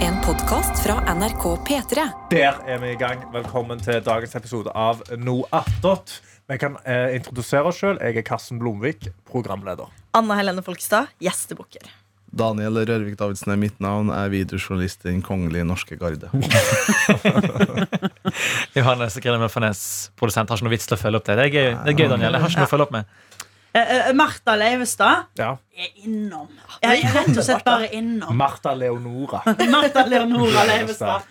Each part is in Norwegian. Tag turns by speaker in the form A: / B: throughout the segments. A: En podkast fra NRK P3.
B: Der er vi i gang. Velkommen til dagens episode av No attåt. Vi kan eh, introdusere oss sjøl. Jeg er Karsten Blomvik, programleder.
C: Anna Helene Folkestad, gjestebukker.
D: Daniel Rørvik Davidsen er mitt navn. Jeg er videojournalist i Den kongelige norske garde.
E: Johannes Grine Fanes, produsent, har ikke noe vits til å følge opp det. Det er gøy, det er gøy Daniel. Jeg har ikke noe å følge opp med.
F: Eh, eh, Martha Leivestad
B: Ja.
F: er innom. Jeg er rett og slett bare innom.
B: Martha Leonora.
F: Martha Leonora Leivestad.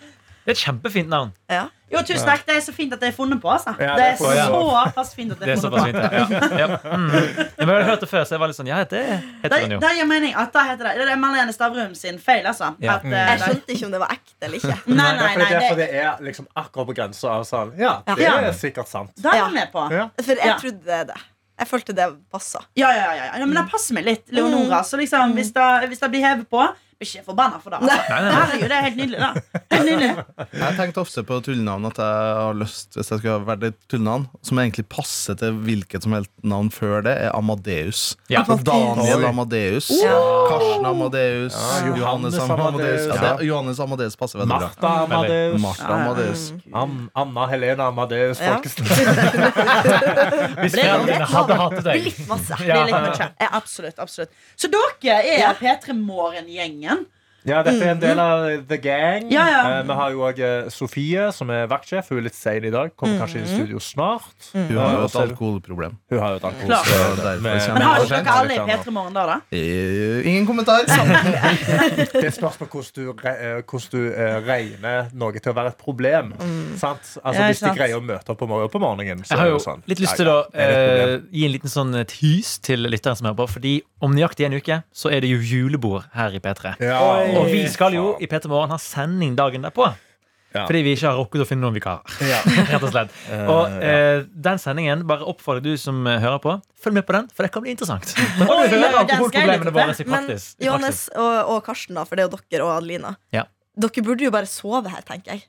E: Det er et kjempefint navn.
C: Ja.
F: Jo, tusen takk. Det er så fint at det er funnet på. Altså.
B: Ja, det
F: det
B: er
F: er
B: funnet på.
F: såpass fint at
E: Det
F: det
E: er
F: er
E: såpass
F: funnet
E: fint.
F: på.
E: Ja. Ja. Mm. Men jeg har hørt det før, så jeg var litt sånn Ja, det
F: Det,
E: heter den jo.
F: det gir mening at det heter det. Det er Marlene Stavrum sin feil, altså.
E: Ja.
F: At, eh,
C: Jeg
F: det-
C: skjønte ikke om det var ekte eller ikke.
F: nei, nei,
B: Derfor
F: nei.
B: det, for
F: Det,
B: det er liksom akkurat på grensa av sånn Ja, det
C: Ja.
B: er sikkert sant.
F: det er
C: Ja.
F: jeg med på.
B: Ja.
C: For jeg
F: Ja.
C: trodde det. er det. Jeg følte det passa.
F: Ja, ja, ja, ja. Men det passer meg litt, Leonora. Så liksom, hvis det, hvis det blir hevet på Blir ikke forbanna for det. Altså.
E: Nei, nei, nei.
F: Herregud, det er helt nydelig, da. Helt nydelig.
D: Jeg tenkte ofte på tullenavn at jeg har lyst Hvis jeg skulle ha vært et tullenavn som egentlig passer til hvilket som helst navn før det, er Amadeus.
E: Ja.
D: Så Daniel Amadeus, Karsten Amadeus,
B: Ja, Johannes
D: Johannes Amadeus.
B: Amadeus.
D: Ja, det, Johannes Amadeus passer veldig bra.
B: Martha Amadeus.
D: Martha Amadeus.
B: Am Anna Helena Amadeus
C: Ja.
B: Folkesen.
E: Hvis foreldrene dine hadde hatet
C: Blir
E: deg.
C: litt masse.
F: Det
E: Ja.
F: er litt mye. Ja, absolutt, absolutt. Så dere er P3 Morgen-gjengen.
B: Ja, dette er en del av The Gang.
F: Ja, ja.
B: Eh, vi har jo òg Sofie, som er vaktsjef. Hun er litt sein i dag. Kommer kanskje
F: Mm.
B: inn i studio snart.
D: Hun har jo
B: Eh,
D: et
B: så-
D: alkoholproblem.
B: Hun har jo et alkohol.
F: Klart.
D: Så derfor
B: Men-
D: kommer
F: Men
D: jeg
F: har
D: for
F: ikke
D: sent.
F: dere alle i
D: Reklame.
F: P3 Morgen da, da?
D: Eh, Ingen kommentar.
B: Det spørs på hvordan du, re- eh, hvordan du eh, regner noe til å være et problem. Sant? Altså,
F: Mm. Ja,
B: hvis de
F: sant.
B: greier å møte opp på morgenen, på morgenen så
E: Jeg har
B: er det
E: jo
B: sånn.
E: litt lyst
B: Ja,
E: til å
B: ja, det er et
E: eh, gi en liten sånn et hys til lytteren som hører på, fordi om nøyaktig en uke så er det jo julebord her i
B: problem.
E: P3.
B: Ja.
E: Og vi skal jo i P3 Morgen ha sending dagen derpå.
B: Ja.
E: Fordi vi ikke har rukket å finne noen vikarer.
B: Ja.
E: Rett og slett. Og eh, den sendingen, bare oppfordrer du som eh, hører på, følg med på den, for det kan bli interessant. Da kan
F: Oi,
E: du
F: ja,
E: høre
F: den skal jeg
E: alkoholproblemene
F: lytte til.
E: våre i
C: Men
E: praktis. i praksis.
C: Johannes og, og Karsten, da, for det er jo dere og Adelina.
E: Ja.
C: Dere burde jo bare sove her, tenker jeg.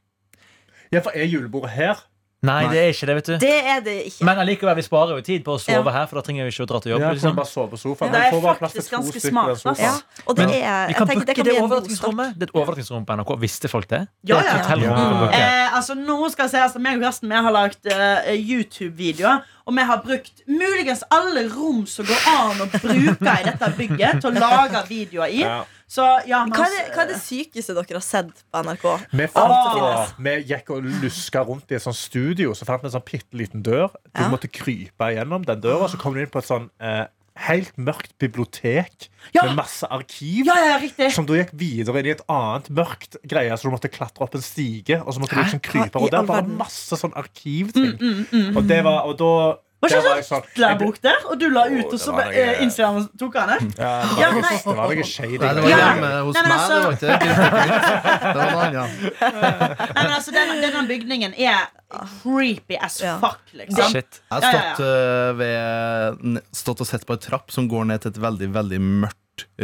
B: ja, for er julebordet her?
E: Nei, det er ikke det, vet du.
C: Det er det ikke.
E: Men allikevel, vi sparer jo tid på å sove
C: Ja.
E: her, for da trenger vi ikke å dra til
B: Ja,
E: jobb.
B: kan du
E: Liksom.
B: bare sove på sofaen. Du
F: Det er
B: får bare plass til
F: faktisk
B: to
F: ganske
B: stykker i
F: smart, altså.
B: den sofaen.
C: Ja. Og det
E: Men
C: er,
E: Vi
C: jeg
E: kan
C: tenker, det kan
E: booke det
C: bli en god start. Mm.
E: overnattningsrommet. Det er et overnattningsrom på NRK. Visste folk det? Det er
F: Ja, ja,
E: et
F: ja.
E: hotellrom du kan
B: Ja.
E: booke.
F: Eh, altså, nå skal jeg si altså, meg og Karsten vi har lagd eh, YouTube-videoer. Og vi har brukt muligens alle rom som går an å bruke i dette bygget, til å lage videoer i.
B: Ja.
F: Så ja, men,
C: Hva er, det, hva er det sykeste dere har sett på NRK?
B: Vi, fant,
F: Åh.
B: vi gikk og luska rundt i et sånt studio, så fant vi en sånn bitte liten dør. Du
C: Ja.
B: måtte krype gjennom den døra, så kom du inn på et sånn eh, helt mørkt bibliotek
F: Ja.
B: med masse arkiv.
F: Ja, ja, riktig.
B: Som da gikk videre inn i et annet mørkt greie, så du måtte klatre opp en stige. Og så måtte du liksom
C: Hva
B: krype
C: i
B: Og der
C: all
B: var det
C: verden?
B: masse sånn
F: Mm,
B: arkivting. Og det var Og da
F: Var
B: der
F: ikke
B: var
F: det
B: jeg sånn
F: sånn
B: jeg ble-
F: bok der, og du la ut, og så
B: var
F: eh,
B: noe-
F: innså han tok han det?
B: ja, det var
F: Ja,
B: noe-
F: nei.
B: Det var noe shady.
D: Nei, det
B: greier.
D: var
F: Ja.
D: hjemme hos
F: Nei, men
D: meg. Det var
F: altså-
D: ikke det var noe annet.
F: Nei, men altså, denne, denne bygningen er creepy as
C: Ja.
F: fuck, liksom.
E: Shit.
D: Jeg
F: Ja,
D: har
F: ja,
D: stått, øh, ved, n- stått og sett på en trapp som går ned til et veldig veldig mørkt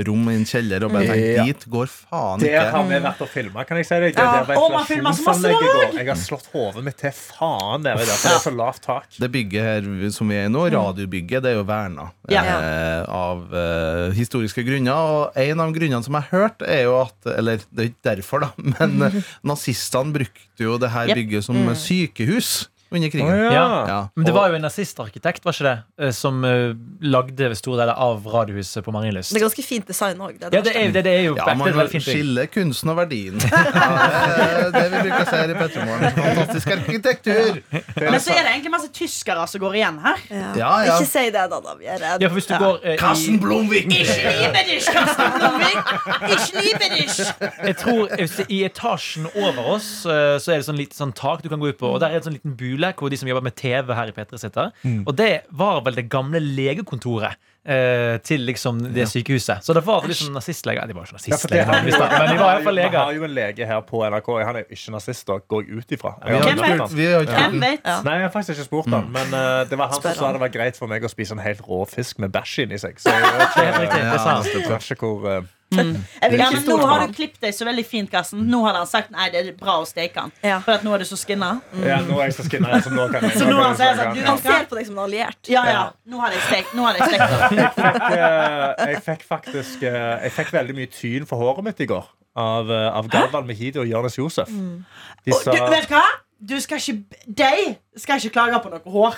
D: rom i en kjeller. Og bare tenkt,
B: Ja.
D: dit går faen
B: Der
D: ikke.
B: har vi vært og filma, kan jeg si deg. Det der
F: Ja.
B: var
F: Å, man filmer så masse
B: ventilasjonsanlegget
F: i dag!
B: går. Jeg har slått hodet mitt til faen nedi der, for det er så lavt tak.
D: Det bygget her som vi er i nå, radiobygget, det er jo verna
F: Mm. Ja.
D: eh, av eh, historiske grunner. Og en av grunnene som jeg har hørt, er jo at Eller det er ikke derfor, da, men
F: Mm.
D: eh, nazistene brukte jo det her
F: Jep.
D: bygget som sykehus under krigen.
E: Ja.
D: Ja.
E: Men det var jo en nazistarkitekt, var ikke det, eh, som eh, lagde store deler av Radiohuset på Marienlyst.
C: Det er ganske fint design òg.
E: Ja, det er, jo- det, det er jo
D: Ja,
E: det er
D: man
E: et veldig fint bygg.
D: skiller kunsten og verdien. Ja, det er det vi bruker å si her i Petromorgen. Fantastisk arkitektur!
F: Men så
B: altså.
F: er det egentlig masse tyskere som går igjen her.
D: Ja, ja.
C: Ikke si det, da. da. Vi er redd.
E: Ja, for hvis du går eh, i
D: Karsten Blomvik!
F: Ikke libedish, Karsten Blomvik! Ikke libedish!
E: jeg tror, jeg vil si, I etasjen over oss eh, Så er det sånn lite sånn tak du kan gå ut på. Og Der er det sånn liten bule hvor de som jobber med TV her i P3 sitter.
B: Mm.
E: Og det var vel det gamle legekontoret eh, til liksom det sykehuset. Så det var liksom nazistleger. De var jo ikke
B: Ja, for det
E: nazistleger,
B: har vi-
E: men de var iallfall
B: Vi har
E: leger.
B: jo en lege her på NRK. Han er jo ikke nazist, da, går jeg ut ifra.
D: Vi
B: Jeg har
D: har ikke
B: ikke
F: Hvem vet?
B: hørt han.
D: spurt- vi har ikke hørt
F: Hvem
D: den.
F: vet?
B: Nei, jeg har faktisk ikke spurt han, men eh, det var han som
C: Spør
B: sa
C: han.
B: det var greit for meg å spise en helt rå fisk med bæsj inni seg. Så eh, jeg vet ikke,
E: Det er helt riktig, det sa han.
B: jeg vet ikke hvor eh,
C: Jeg vil
F: Ja,
C: ikke
F: men nå
C: stole på
F: har
C: han.
F: du klippet deg så veldig fint, Karsten. Nå hadde han sagt nei, det er bra å steke han.
C: Ja.
F: For at nå er du så skinna.
B: Ja, nå er jeg så skinna, så nå kan jeg
F: Så nå har han sagt
B: kan jeg-
F: at du-
C: Han ser på deg som en alliert.
F: Ja, ja. Nå hadde jeg stekt. Nå hadde jeg stekt.
B: fikk, eh, jeg fikk faktisk eh, Jeg fikk veldig mye tyn for håret mitt i går. av, eh, av Galvan Mehidi og Jonis Josef. De
F: Og
B: sa
F: Du, vet du hva? Du skal ikke, de skal ikke klage på noe hår.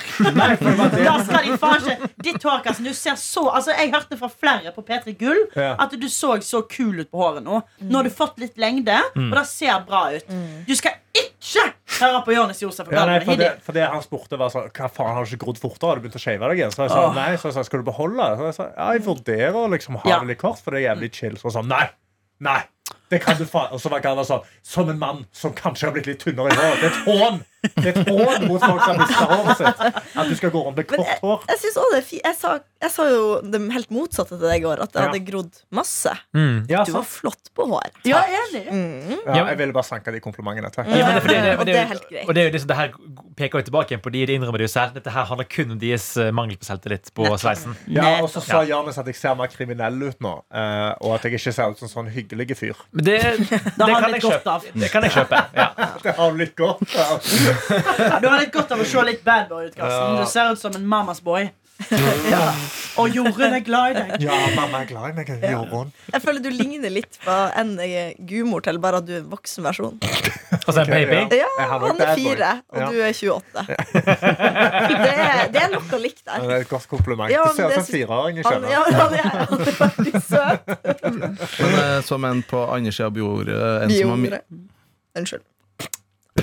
F: da skal de faen ikke Ditt hår, Karsten, du ser så Altså, Jeg hørte fra flere på P3 Gull
B: Ja.
F: at du så så kul ut på håret nå. Nå har du fått litt lengde, og det ser bra ut. Du skal ikke høre på Jonis Josef og
B: ja, nei,
F: Galvan
B: for,
F: Hidi.
B: det, for det han spurte, var sånn Hva faen, har du ikke grodd fortere? Har du begynt å shave deg igjen? Så jeg sa nei. Så jeg sa skal du beholde det? Så jeg sa ja, jeg vurderer å liksom ha
F: Ja.
B: det litt kort, for det er jævlig chill. Så jeg sa nei. Nei. Det kan du faen. Og så var Galvan sånn Som en mann som kanskje har blitt litt tynnere i håret. Det er et hån! Det er et hån mot folk som har mista håret sitt. At du skal gå rundt med kort hår.
C: Jeg synes også det er fi jeg, sa, jeg sa jo det helt motsatte til deg i går, at jeg
B: Ja.
C: hadde grodd masse.
E: Mm.
B: Ja,
C: Du var
B: sant.
C: flott på håret.
F: Ja, jeg er enig.
B: ja, Mm. jeg ville bare sanke de komplimentene. Takk.
E: Ja, men det, for det, det,
C: Og det er helt greit.
E: og det, er jo liksom det, som- det her peker jo tilbake igjen på de, de innrømmer det jo selv. Dette her handler kun om deres eh, mangel på selvtillit på sveisen.
B: Ja, og så sa Jonis at jeg ser mer kriminell ut nå, eh, og at jeg ikke ser ut som en sånn hyggelig fyr.
E: Men det, det,
F: Da
E: kan
F: har han
E: jeg
F: litt
E: kjøpe. Mm.
F: godt av.
E: Det kan jeg kjøpe. Ja.
B: Det har litt godt. Ja.
F: Ja, Du har litt godt av å se litt bad boy ut, Karsten.
B: Ja.
F: Du ser ut som en mamas boy. Og Jorunn er glad i deg.
B: Ja, mamma er glad i meg. Jorunn.
C: Jeg føler du ligner litt på en eh, gudmor til, bare at du er en voksen versjon.
E: Altså
B: Ok,
E: en baby.
C: Ja,
B: Jeg har vært
C: han er
B: bad boy.
C: fire,
B: Ja.
C: og du er 28. Det er, det er noe likt
B: Ja,
C: der.
B: Det er et godt kompliment.
C: Ja,
B: du ser
C: men
B: ut som
C: det
B: en
C: syns-
B: fireåring. jeg
C: Han,
B: skjønner.
C: ja, han er, han er veldig søt.
D: Men eh, som en på andre sida av bjordet en som har mi-
C: Bjordet. Unnskyld.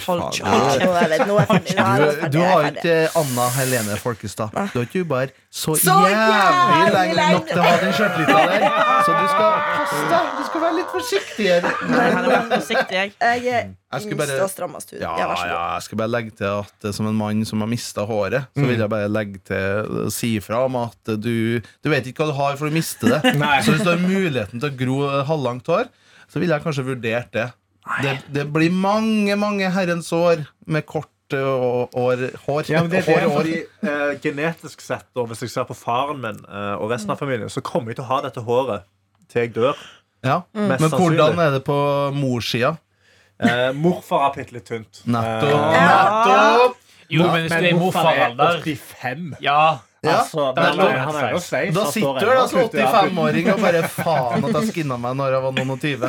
D: Faen,
C: Ja, nå er jeg- nå er jeg ferdig. Nå er jeg
D: Du,
C: ferdig,
D: du
C: jeg er
D: har
C: ferdig.
D: ikke Anna Helene Folkestad. Du har ikke bare så,
C: Så
D: jævlig
C: jævlig
D: lenge
C: lenge.
D: nok til å ha den skjørtlita der. Så du skal passe deg. Du skal være litt forsiktigere.
F: Jeg hadde vært forsiktig, jeg.
C: Jeg er
D: Jeg skulle
C: minst
D: bare-
C: og strammest hud.
D: Ja,
C: Ja, vær så god.
D: ja, jeg skal bare legge til at eh, som en mann som har mista håret,
B: Mm.
D: så vil jeg bare legge til eh, si ifra om at eh, du, du vet ikke hva du har for å miste det.
B: Nei.
D: Så hvis du har muligheten til å gro eh, halvlangt hår, så ville jeg kanskje vurdert det. det. Det blir mange, mange herrens år med kort eh, og- år, hår.
B: Ja, men det, det er
D: Hår- hår.
B: fordi eh, Genetisk sett, da, hvis jeg ser på faren min eh, og resten av familien, så kommer jeg til å ha dette håret til jeg dør.
D: Ja.
B: Mest
D: Men hvordan
B: sannsynlig.
D: er det på morssida?
B: Eh, morfar er bitte litt tynt.
D: Nettopp!
B: Eh,
D: Nettopp!
E: Jo, men hvis du er i morfaralder
B: 85.
E: Ja.
D: Ja.
B: Altså,
E: Da er
B: men
E: det
B: han er jo
E: sveis.
B: sveis.
D: Da
B: han står
D: sitter du
B: ennå
D: da som
B: og putter-
D: 85-åring og bare faen at jeg skinna meg når jeg var noen og tyve.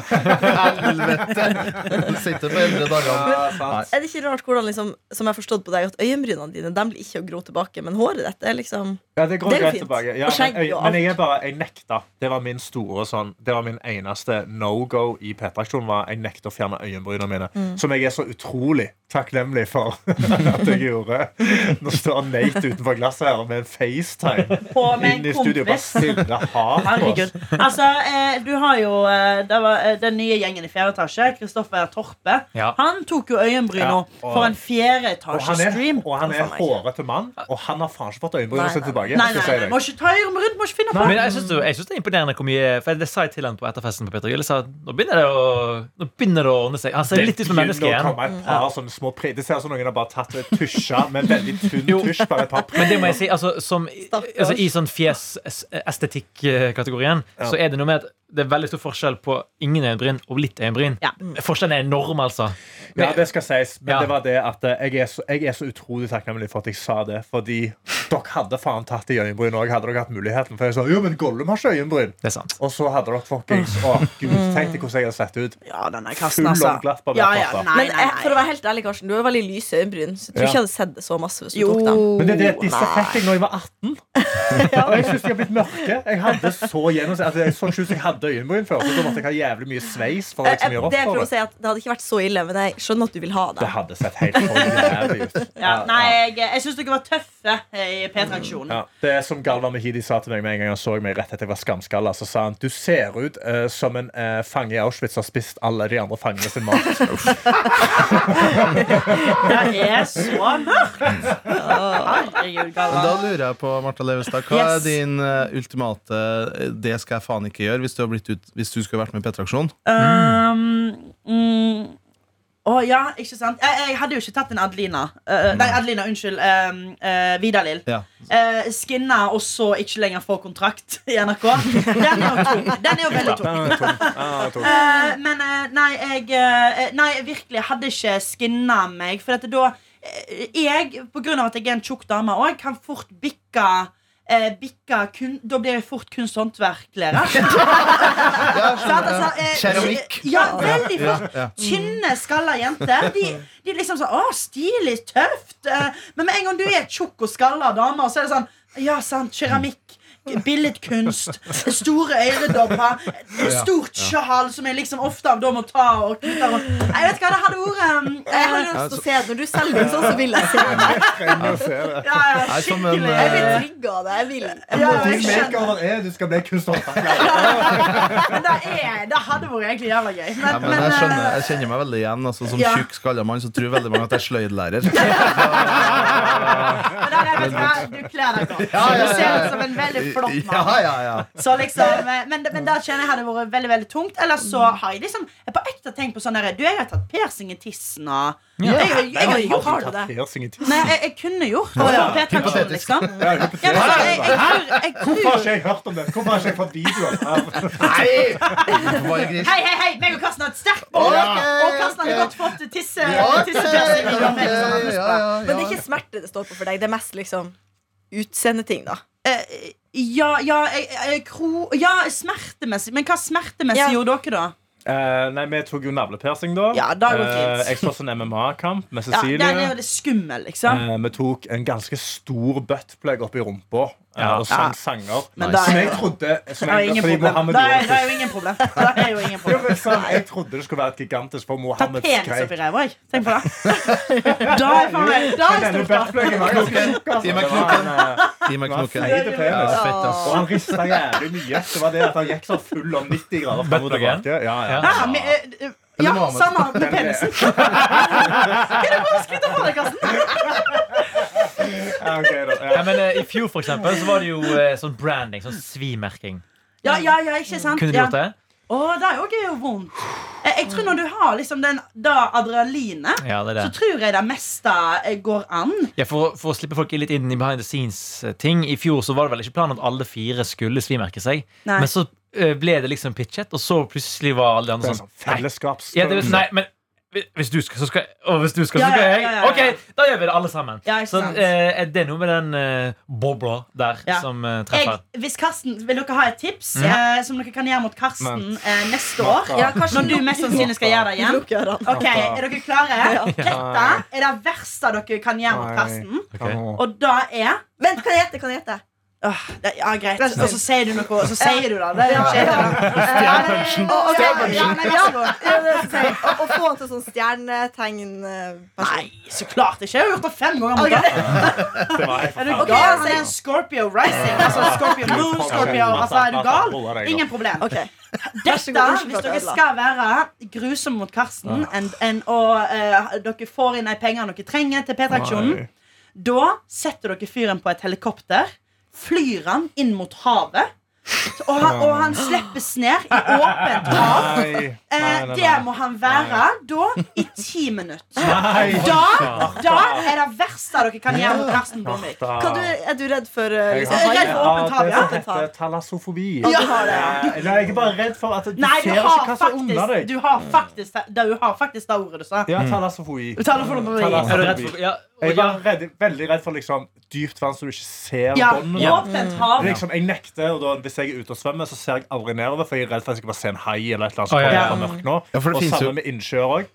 D: Helvete! Du sitter på eldre dager.
B: Ja, sant.
C: Er det ikke rart hvordan, liksom, som jeg har forstått på deg, at øyenbrynene dine de blir ikke å gro tilbake, men håret ditt er liksom
B: Ja, det går
C: Det er jo
B: greit
C: fint.
B: tilbake. Ja,
C: Og skjegg
B: men, jeg,
C: og
B: men jeg er
C: alt.
B: bare, jeg nekta. Det var min store sånn Det var min eneste no-go i P3-aksjonen. var Jeg nekta å fjerne øyenbrynene mine. Som jeg er så utrolig takknemlig for at jeg gjorde. Nå står Nate utenfor glasset her med en FaceTime
F: På med
B: inn i
F: en
B: studio. Bare
F: kompis.
B: stille har på
F: Herregud.
B: oss.
F: Altså, eh, du har jo eh, det var, eh, den nye gjengen i fjerde etasje, Kristoffer Torpe.
E: Ja.
F: Han tok jo øyenbryna
B: Ja, og-
F: for en fjerde
B: Og han er,
F: etasje-stream.
B: og han er
C: Faen meg.
B: hårete mann, og han har faen ikke fått øyenbrynene
C: Nei,
B: sine
C: nei,
B: tilbake.
F: Nei,
B: skal
F: nei,
B: jeg si
F: nei,
B: deg.
F: må ikke ta øyenbryn rundt, må ikke finne på
E: Men jeg syns, det, jeg synes det er imponerende hvor mye For Det sa jeg til han på etterfesten. på Peter Gull. Jeg sa nå begynner det å, nå begynner det å ordne seg. Han ser litt ut som et menneske
B: begynner å
E: igjen.
B: komme et par sånne små pri- Det ser ut som noen har bare tatt et tusja med en veldig tynn tusj. Bare et par
E: Men det må jeg si, altså, som, i-
C: Stakkars.
E: altså I sånn fjesestetikk-kategorien så er det noe med at det er veldig stor forskjell på ingen øyenbryn og litt øyenbryn.
F: Ja.
E: Forskjellen er enorm, altså.
B: Ja, det skal sies. Men
E: Ja.
B: det var det at eh, jeg er, så, jeg er så utrolig takknemlig for at jeg sa det. Fordi dere hadde faen tatt i øyenbryn òg, hadde dere hatt muligheten. For jeg sa jo, men Gollum har ikke øyenbryn.
E: Det er sant.
B: Og så hadde dere fuckings Å, gud, tenk deg hvordan jeg hadde sett ut.
F: Ja, den er
B: Full
F: kassen, altså.
B: og glatt på
F: Ja, ja,
B: blattmatta.
F: nei,
C: Men
F: nei,
C: jeg, for å
F: nei.
C: være helt ærlig, Karsten, du har veldig lyse øyenbryn. Så jeg tror
B: Ja.
C: ikke jeg hadde sett det så masse hvis du
F: Jo.
C: tok dem.
B: Men det er det
F: oh,
B: at disse fikk jeg da jeg var 18. Og jeg syns de har blitt mørke. Jeg hadde så gjennom, altså, jeg så ikke ut som jeg hadde øyenbryn før. Så da måtte jeg ha jævlig mye sveis for å
F: Eh,
C: Jeg,
B: liksom,
C: jeg,
B: gjøre opp
C: Eh, det jeg prøver
B: for
C: å
B: det.
C: si er at det hadde ikke vært så ille, men jeg skjønner at du vil ha det.
B: Det hadde sett helt for jævlig ut.
F: ja, Nei, jeg, jeg syns dere var tøffe eh, i P3-aksjonen.
B: Ja, det er som Galvan Mehidi sa til meg med en gang han så meg rett etter jeg var skamskalla. Så sa han du ser ut eh, som en eh, fange i Auschwitz har spist alle de andre fangene sin mat.
F: Det er så mørkt! Herregud,
D: Men da
F: Galvan.
D: lurer jeg på, Martha Levestad, hva er
F: Yes.
D: din eh, ultimate eh, 'det skal jeg faen ikke gjøre' hvis du, har blitt ut, hvis du skulle vært med i E P-traksjon?
F: Um, mm, å ja, ikke sant? Jeg, jeg hadde jo ikke tatt en Adelina. Eh, nei, Adelina, unnskyld. Um, uh, Vidalil.
D: Ja.
F: Eh, skinna og så ikke lenger få kontrakt i NRK. Den er jo tung. Den er jo veldig tung.
B: Ah,
F: Eh, men eh, nei, jeg eh, Nei, jeg virkelig hadde ikke skinna meg. For at da eh, Jeg, på grunn av at jeg er en tjukk dame òg, kan fort bikke eh, eh, bikka kun, Da blir jeg fort kunst- og håndverklærer.
D: Ja,
F: Så at, altså, eh,
D: Keramikk.
F: Ja, veldig
D: ja,
F: flott.
D: ja.
F: Tynne, skalla jenter. De, de liksom sånn Å, stilig, tøft. eh, Men med en gang du er tjukk og skalla dame, så er det sånn Ja, sant, keramikk. Billedkunst, store øredobber, stort sjal som jeg liksom ofte av da må ta og knytte rundt. Jeg vet hva det hadde vært. Um,
C: Jeg har
F: eh,
C: lyst til å se det. Når du selger den sånn, så vil jeg se det.
B: Trenger å se det.
F: ja, ja,
D: Nei, som en,
F: skikkelig.
C: Jeg blir
D: eh,
C: trigga av det. Jeg vil.
F: Ja,
B: Din
F: jeg skjønner.
B: makeover er du skal bli kunstner.
F: Men det, er, det hadde vært egentlig jævla gøy. Men,
D: Ja, men jeg,
F: eh,
D: skjønner, jeg kjenner meg veldig igjen. Altså, som
F: Ja.
D: tjukk, skalla mann så tror veldig mange at jeg er sløydlærer.
F: men der er, vet du hva, du kler deg godt.
D: Ja, ja, ja, ja.
F: Du ser ut som en veldig flott
D: Ja,
F: mann.
D: ja, ja.
F: Så liksom, eh, men, men da kjenner jeg hadde vært veldig veldig tungt. Eller så har jeg liksom jeg på ekte tenkt på sånn der, Du, jeg har tatt persing i tissen og
E: Ja.
F: jeg, jeg, jeg,
B: Nei,
F: gjort-
B: har du tatt piercing i tissen?
F: Nei, jeg, jeg kunne gjort det. på P-traksjon,
D: Hypotetisk.
F: liksom.
B: Ja, jeg
F: Ja, men
B: har
F: så,
B: ikke
F: jeg,
B: det.
F: jeg, tror- jeg,
B: Hvorfor har
F: tror-
B: ikke jeg hørt om det? Hvorfor har ikke jeg fått videoer av
D: Nei! Bare gris.
F: Hei, hei, hei! meg og Karsten har et sterkt bånd.
D: Ok,
F: Og Karsten hadde
D: ok.
F: godt fått tisse,
D: Ok,
F: tissepersing. i
D: ok,
F: rommet, liksom.
D: ja, ja,
C: Men det
D: ja.
C: er ikke smerte det står på for deg. Det er mest liksom utseendeting, da.
F: Eh, ja, ja, jeg, jeg, kro, ja, smertemessig. Men hva smertemessig
C: Ja.
F: gjorde dere, da?
B: Eh, nei, vi tok jo navlepiercing da.
F: Ja, da går det
B: Eh,
F: fint.
B: jeg slåss en MMA-kamp med
F: Ja,
B: Cecilie.
F: det er jo det skummel, liksom.
B: Eh, vi tok en ganske stor buttplug opp i rumpa eh,
E: Ja.
B: og sang
F: Ja.
B: sanger.
F: Men da-
B: Som jeg trodde som
F: Det er
B: jeg,
F: jo ingen
B: fordi
F: problem.
B: Mohammed
F: Det
B: gjorde
F: er,
B: det
F: det er
B: sist.
F: jo ingen problem. Det er jo ingen
B: Jo,
F: problem.
B: men sånn, Jeg trodde det skulle være et gigantisk for
F: Ta
B: Mohammed
F: penis oppi ræva, jeg. Tenk på det. Da er faen meg Da er
B: Denne
F: stort, da.
B: buttpluggen var ganske tjukk. altså.
D: Gi meg
B: Det var
D: knoken.
B: en, eh,
D: Gi meg
B: det var en
D: knoken.
B: feite
D: Ja,
B: penis.
D: fett, ass.
B: Og han rista jævlig mye. Det var det at han gikk så full om 90 grader frem og
E: Buttpluggen?
B: tilbake. Ja, ja.
F: Ja, men, eh, eh, ja,
D: Eller Mohammed.
F: samme med penisen. Kan du bare skryte av deg, Karsten?
B: Ja, ok da. Ja.
E: Nei, men, eh, I fjor for eksempel, så var det jo eh, sånn branding, sånn svimerking.
F: Ja, ja, ja, ikke sant?
E: Kunne du
F: Ja.
E: gjort det?
F: Å, det er jo gøy og vondt. Jeg, jeg tror når du har liksom den da adrenalinet,
E: Ja, det er det.
F: så tror jeg det meste eh, går an.
E: Ja, for, å- for å slippe folk litt inn i behind the scenes-ting. I fjor så var det vel ikke planen at alle fire skulle svimerke seg.
F: Nei.
E: Men så eh, ble det liksom pitchet, og så plutselig var alle de
B: Det
E: andre
B: er sånn
E: sånn Nei, ja, det, sånn-
B: fellesskapsstørrelse.
E: nei men hvi- hvis du skal, så skal jeg. Og hvis du skal,
F: Ja,
E: så skal
F: ja,
E: jeg.
F: ja, ja, ja.
E: Ok, da gjør vi det alle sammen.
F: Ja, ikke
E: så
F: sant.
E: eh, det er noe med den eh, bobla der
F: Ja.
E: som eh,
F: Jeg,
E: treffer.
F: hvis Karsten, Vil dere ha et tips eh, som dere kan gjøre mot Karsten
B: Mm. Men-
F: eh, neste år?
B: Ja,
F: Når du mest sannsynlig skal gjøre det igjen?
C: Lukk ørene.
F: Ok, Er dere klare?
C: Ja.
F: Dette er det verste dere kan gjøre mot
B: Nei.
F: Karsten.
B: Åh.
F: Og da er
C: Vent, kan jeg gjette? Kan jeg gjette?
F: Åh, det, Ja, greit. Og så sier du noe, og så sier du det. Det er jo kjedelig, da.
C: Å, å,
F: Ja, men- ja, men- ja, men-
C: Ja, det er det jeg skulle si. Å- Å få han til sånn stjernetegn eh, person.
F: Nei, så klart ikke. Jeg har gjort det fem ganger. mot
C: Ok.
F: deg.
B: Det var helt
F: Er du
B: forferdelig.
F: gal? Han er en Scorpio rising. Altså Scorpio moon, Scorpio Altså, er du gal? Ingen problem.
C: Ok. så
F: Dette,
C: god, unnskyld for
F: hvis
C: at
F: dere
C: jeg ødela.
F: skal være grusomme mot Karsten, and, and, og eh, dere får inn de pengene dere trenger til P-traksjonen,
B: Nei.
F: da setter dere fyren på et helikopter, flyr han inn mot havet, og han, og han slippes ned i åpent hav.
B: Nei,
F: Eh,
B: nei, nei,
F: det
B: nei.
F: må han være da i ti minutter.
B: Nei.
F: Da, da er det verste dere kan gjøre mot Karsten Blomvik.
C: Hva du, er du redd for eh,
B: Jeg
C: liksom,
B: har-
F: Jeg er redd for åpent
B: Ja,
F: hav,
B: det
F: ja.
B: som heter talassofobi.
C: Ja, du har det,
B: Eh, Nei, jeg er bare redd for at du
F: Nei, du
B: ser ikke
F: har
B: hva som er
F: faktisk,
B: under deg.
F: du har faktisk, det- du har faktisk det ordet du sa.
B: Ja, talassofobi.
F: Uttaler for
E: Er du
B: Talassofobi.
F: noe.
E: redd for ja,
B: Jeg er
E: ja.
B: bare redd, veldig redd for liksom, dypt vann som du ikke ser
F: Ja,
B: bånden.
F: åpent hav.
B: Liksom, jeg nekter, og da, Hvis jeg er ute og svømmer, så ser jeg aldri nedover. For jeg er redd for at jeg skal bare se en hai eller et eller annet som
E: Å,
B: kommer
E: ja, ja.
B: fra mørket nå.
D: Ja, for det
B: og
D: finnes jo-
B: sammen med innsjøer òg.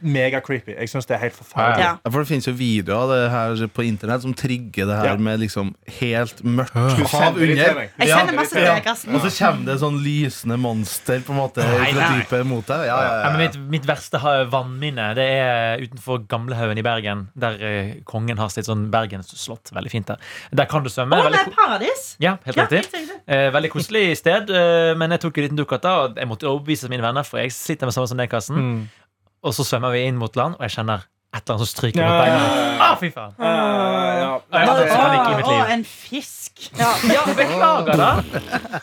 B: Mega creepy. Jeg syns det er helt
E: Ja,
B: forferdelig.
F: Ja.
D: Ja, for det finnes jo videoer av det her på internett som trigger det her
B: Ja.
D: med liksom helt mørkt hav
B: sender de til
D: under.
B: meg.
F: Jeg
D: Ja.
F: sender masse til
D: Ja.
F: deg, Karsten.
D: Og så kommer det sånn lysende monster på en måte fra dypet mot deg. Ja,
E: Ja,
D: ja,
E: men
D: ja.
E: mitt, mitt verste ha- vannminne Det er utenfor Gamlehaugen i Bergen, der eh, kongen har sitt sånn Bergensslott. Veldig fint der. Der kan du svømme.
F: Å,
E: Veldig
F: nei,
E: ko-
F: paradis.
E: Ja, helt
F: Ja,
E: riktig.
F: helt riktig.
E: Eh, veldig koselig sted, eh, men jeg tok en liten dukkert da. Og jeg måtte overbevise mine venner, for jeg sliter med samme som deg,
D: Mm.
E: Karsten.
B: Mm.
E: Og så svømmer vi inn mot land, og jeg kjenner et eller annet som stryker mot beina. Ah, fy faen!
B: Eh, ja.
E: Jeg har hatt panikk i mitt
F: Å,
E: liv.
F: en fisk.
C: Ja.
E: Ja, beklager, da.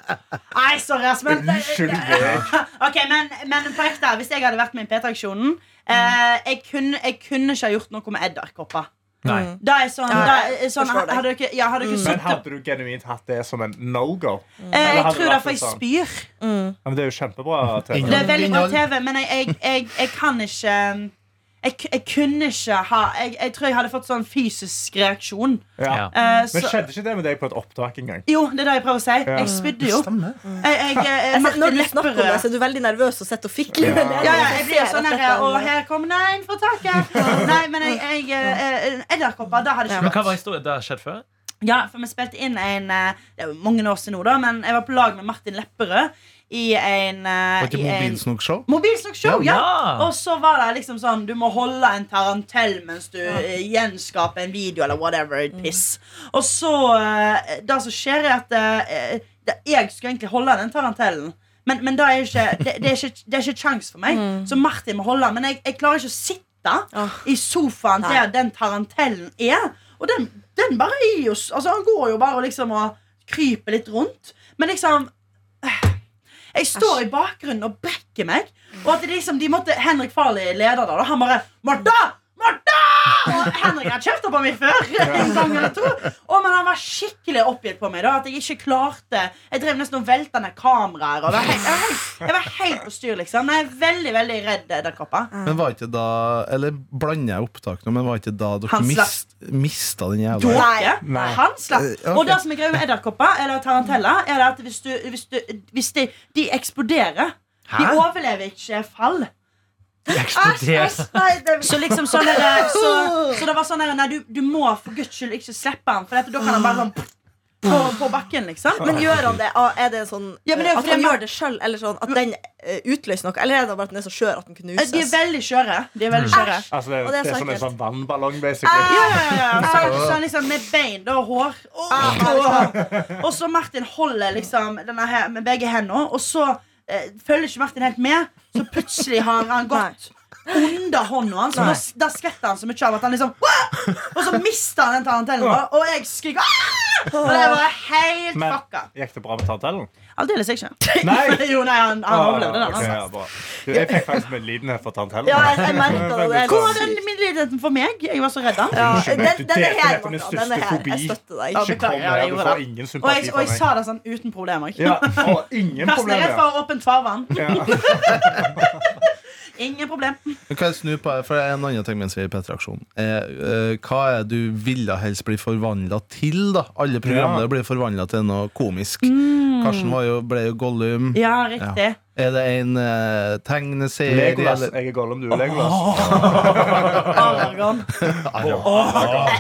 F: Nei, sorry, ass, men
B: Unnskyld meg.
F: Ok, men, men på ekte, hvis jeg hadde vært med i P-traksjonen eh, jeg, kunne, jeg kunne ikke ha gjort noe med edderkopper.
E: Nei.
F: Da er sånn,
C: Ja,
F: da er sånn
C: forstår deg.
F: Hadde dere, ja, hadde dere
B: Men
F: sittet
B: hadde du genuint hatt det som en no-go?
F: eh,
B: Eller
F: Jeg
B: hadde det
F: tror det,
B: vært
F: for jeg
B: sånn?
F: spyr.
B: Ja, men det er jo kjempebra. TV.
D: Ingen-
F: Det er veldig bra
D: Innhold.
F: TV, men jeg, jeg, jeg, jeg kan ikke eh, Jeg, ku- jeg kunne ikke ha jeg, jeg tror jeg hadde fått sånn fysisk reaksjon.
B: Ja.
E: Ja.
F: Eh,
B: Men
F: så-
B: skjedde ikke det med deg på et opptak engang?
F: jo, det er det jeg prøver å si. Jeg spydde jo.
D: Stemmer.
F: Jeg, jeg, eh, jeg,
C: Jeg ser-
F: Martin
C: Altså, Når du snakker om
F: Lepperød-
C: det, så er du veldig nervøs og sitter og fikler med det.
F: Ja, ja, jeg blir
C: ser
F: sånn
C: at
F: her
C: dette-
F: Og her kom det en fra taket. Nei, men jeg, jeg, eh, Edderkopper, det hadde ikke
E: Men
F: gått.
E: hva var historien? Det har skjedd før?
F: Ja, for vi spilte inn en eh, Det er jo mange år siden nå, da, men jeg var på lag med Martin Lepperød i en eh,
D: Var ikke
F: i en-
D: mobilsnokshow?
F: Mobilsnokshow, ja.
E: Ja.
F: Og så var det liksom sånn Du må holde en tarantell mens du eh, gjenskaper en video eller whatever.
C: Mm.
F: Piss. Og så eh, Det som skjer, er at eh, det, jeg skulle egentlig holde den tarantellen. Men, men det, er ikke, det, det er ikke Det er ikke kjangs for meg. Så Martin må holde den. Men jeg, jeg klarer ikke å sitte
C: Mm. Åh.
F: i sofaen
C: Nei.
F: der den tarantellen er. Og den, den bare er jo s- Altså, han går jo bare og liksom og kryper litt rundt. Men liksom jeg står i bakgrunnen og brekker meg. Og at det liksom, de måtte, Henrik Farley leder da, og han bare 'Martha! Martha!' Og Henrik har kjefta på meg før. En gang eller to og, Men han var skikkelig oppgitt på meg. da At jeg ikke klarte Jeg drev nesten og velta ned kameraer. Og var helt, jeg, var helt, jeg var helt på styr, liksom. Jeg er veldig veldig redd edderkopper.
D: Men var ikke da Eller blander jeg opptak nå, men var ikke da dere
F: Han slapp.
D: mist, mista den jævla
F: Tåke. Han slapp.
D: Eh, ja,
F: Og
D: ok.
F: det som er greia med edderkopper, eller taranteller, er det at hvis, du, hvis, du, hvis de, de eksploderer De
E: Hæ?
F: overlever ikke fall.
E: De eksploderte.
F: Æsj, nei, det- Så liksom sånn der, så, så det var sånn der Nei, du, du må for guds skyld ikke slippe han, for dette, da kan han bare sånn på, på bakken, liksom.
C: Men gjør han det? Ah, Er det sånn
F: Ja, men det er jo
C: At
F: fordi
C: han
F: man-
C: gjør det sjøl, eller sånn at den eh, utløser noe? Eller er det bare at den er så skjør at den kunne
F: Eh, De er
C: uses?
F: veldig skjøre. De er Ah, veldig skjøre.
B: Altså, det,
C: Og
B: det er,
C: det er så
B: som en
C: ekkelt.
B: sånn vannballong,
F: Ja,
B: basically.
F: ja, ja, ja. Så,
B: Ah.
F: så han liksom med bein da, og hår. Åh. Og så Martin holder liksom denne her med begge hendene, og så eh, følger ikke Martin helt med. Så plutselig har han gått under hånda hans, og da, da skvetter han så mye av at han liksom «Wah!» Og så mister han den tarantellen, og, og jeg skriker «Ah!» Og det var helt
B: Men
F: fucka.
B: gikk det bra med tarantellen?
F: Aldeles ikke.
B: Nei.
F: jo, nei, han, han overlevde den.
B: Ah, ok,
F: Altså.
B: ja, bra. du, jeg fikk faktisk medlidenhet for tarantellen.
C: Ja, jeg, jeg merker det. det er
F: Hvor var
C: litt-
F: den middelheten for meg? Jeg var så redd. da.
C: ja,
B: Unnskyld
C: den,
B: meg, du
C: den er
B: delte
C: her,
B: nettopp din
C: Martha. Den er
B: største
C: her. Jeg
B: fobi.
C: støtter deg.
F: Ja,
B: Ikke kom
F: ja, jeg
B: her, du
F: gjorde
B: får
F: det.
B: ingen
F: Og jeg,
B: sympati
F: og
B: fra
F: jeg
B: meg.
F: sa det sånn uten problemer.
B: Ja, og ingen
F: Karsten er
B: problemer.
F: redd for åpent farvann.
B: Ja.
F: Ingen problem.
D: Men Kan jeg snu på det? For det er en annen ting mens vi er i P-traksjonen. Eh, eh, hva er du ville helst bli forvandla til, da? Alle programmer
B: Ja.
D: blir forvandla til noe komisk.
F: Mm.
D: Karsten var jo, ble jo Gollum.
F: Ja, riktig.
D: Er det en eh, tegneserie?
B: Legolas.
D: eller-
B: Jeg er Gollum, du er Legolas.
F: Aragorn.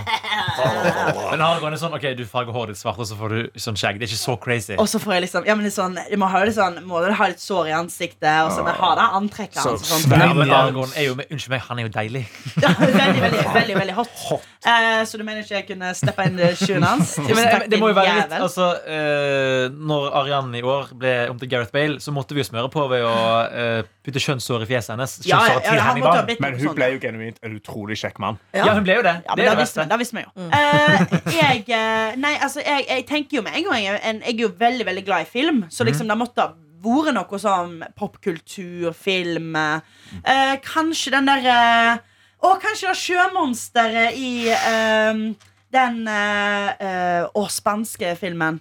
E: Men Aragorn er sånn, ok, du farger håret ditt svart, og så får du sånn skjegg. Det er ikke så crazy.
F: Og så får jeg liksom Ja, men litt sånn Du må ha litt sånn Må du ha litt sår i ansiktet, og så må jeg ha det antrekket
B: Så
F: hans. og Sånn.
E: Ja, men Aragorn er jo, men unnskyld meg, han er jo deilig.
F: Ja, veldig, veldig, veldig veldig hot. Eh, så du mener ikke jeg kunne steppe inn i skjønet hans? Tusen
E: Ja, men, eh,
F: takk,
E: det må jo
F: din
E: være litt,
F: jævel.
E: altså eh, Når Arianne i år ble om til Gareth Bale, så måtte vi jo smøre på ved å eh, putte kjønnshår i fjeset hennes.
F: Ja, ja,
E: Kjønnshår
F: ja,
E: til
F: han
E: henne i
F: måtte ha
E: barn.
F: bitt
B: Men
F: meg på
B: hun
F: sånn.
B: ble jo genuint en utrolig kjekk mann.
E: Ja, hun ble jo det. det
F: Ja,
E: er
F: men da
E: det
F: visste,
E: beste.
F: vi- da visste vi jo. Eh, jeg, eh, nei, altså, jeg, jeg tenker jo med en gang Jeg, en- jeg er jo veldig veldig glad i film, så
E: Mhm.
F: liksom det måtte ha vært noe som popkultur, film eh, eh, Kanskje den derre Å, kanskje det sjømonsteret i eh, den eh, eh, Å, spanske filmen.